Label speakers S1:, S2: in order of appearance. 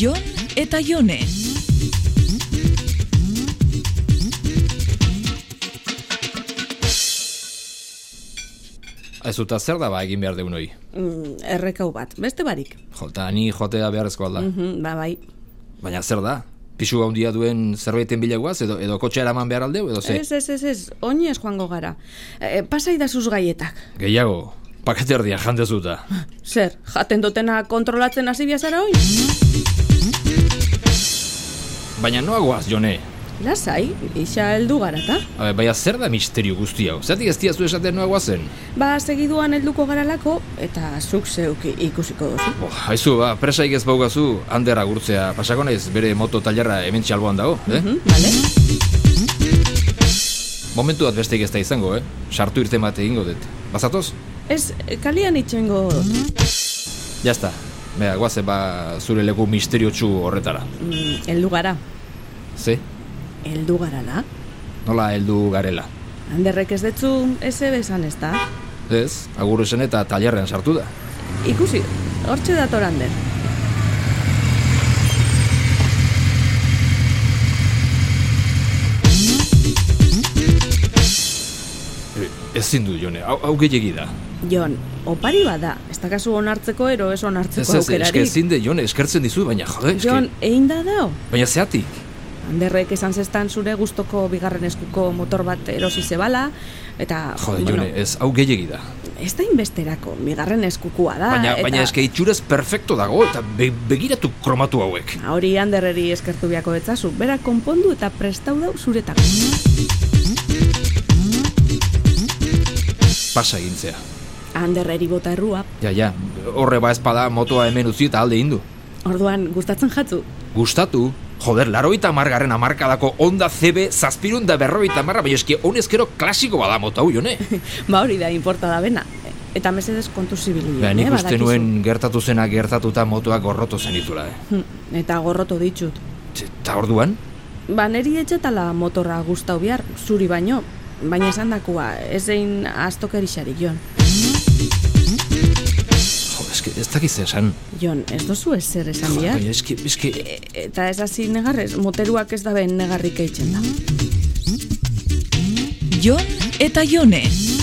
S1: Jon eta Jone.
S2: Ez uta zer da ba egin behar deun hori.
S3: Mm, errekau bat, beste barik.
S2: Jota, ni jotea beharrezkoa da.
S3: Mhm, ba, bai.
S2: Baina zer da? Pisu handia duen zerbaiten bilagoaz, edo, edo kotxe eraman behar aldeu, edo ze?
S3: Ez, ez, ez, ez, oin ez joango gara. E, pasai da zuz gaietak.
S2: Gehiago, paketerdia jantezuta.
S3: Zer, jaten dutena kontrolatzen hasi biazara oin?
S2: Baina noagoaz, Jone.
S3: Lasai, isa heldu gara, ta?
S2: Habe, baina zer da misterio guzti hau? Zati ez diazu esaten noagoazen?
S3: Ba, segiduan helduko garalako, eta zuk zeuk i- ikusiko duzu.
S2: Bo, haizu, ba, presaik ez baugazu, handera gurtzea pasako naiz bere moto tailerra hemen txalboan dago, eh?
S3: Hm, bale?
S2: Momentu bat besteik ez da izango, eh? Sartu irten bat egingo dut. Bazatoz?
S3: Ez, kalian itxengo...
S2: Jazta. Bea, guazen ba zure leku misteriotsu horretara.
S3: Mm, heldu gara.
S2: Ze?
S3: Heldu garala?
S2: Nola heldu garela.
S3: Handerrek ez detzu, ez esan ez da?
S2: Ez, agur esan eta tailerrean sartu da.
S3: Ikusi, hortxe dator Ander.
S2: E, ezin du, Jone, hau, hau gehiegi da.
S3: Jon, opari bada, ez da kasu onartzeko ero ez
S2: Ez,
S3: onartzeko
S2: ez, eske
S3: aukerarik.
S2: ezin de, Jone, eskertzen dizu, baina jode, eske.
S3: Jon, egin da dao?
S2: Baina zeatik,
S3: Anderrek esan zestan zure gustoko bigarren eskuko motor bat erosi zebala, eta...
S2: jode, Jone, ez, hau gehiegi da.
S3: Ez da inbesterako, bigarren eskukua da,
S2: eh. Baina,
S3: Ah, eta...
S2: baina eske itxuraz perfecto dago eta be, begiratu kromatu hauek.
S3: Hori handerreri eskertu biako etzazu, bera konpondu eta prestau dau zuretako.
S2: Pasa egintzea.
S3: Handerreri bota errua,
S2: Ja, ja, horre ba espada motoa hemen utzi eta alde indu.
S3: orduan gustatzen jatzu.
S2: Gustatu, joder, laroita margarren amarkadako Honda CB zazpirun da berroita marra, baina eski honezkero klasiko bada mota hau, jone.
S3: Ba hori da, importa da bena. Eta mesedez kontu eh, zibili.
S2: Ba, nik uste nuen gertatu zena gertatuta motoak gorroto zenitula, eh.
S3: Hm, Eta gorroto ditut.
S2: Eta orduan,
S3: Ba, neri etxetala motorra gustau bihar, zuri baino, baina esan dakua, ez zein astokerixari, Jon.
S2: jo, eske, ez dakiz esan.
S3: Jon, ez duzu ez zer esan
S2: Jo,
S3: bihar?
S2: baina eski, eski,
S3: E- Eta ez hasi negarrez, moteruak ez da ben negarrik eitzen da.
S1: Jon eta Jone.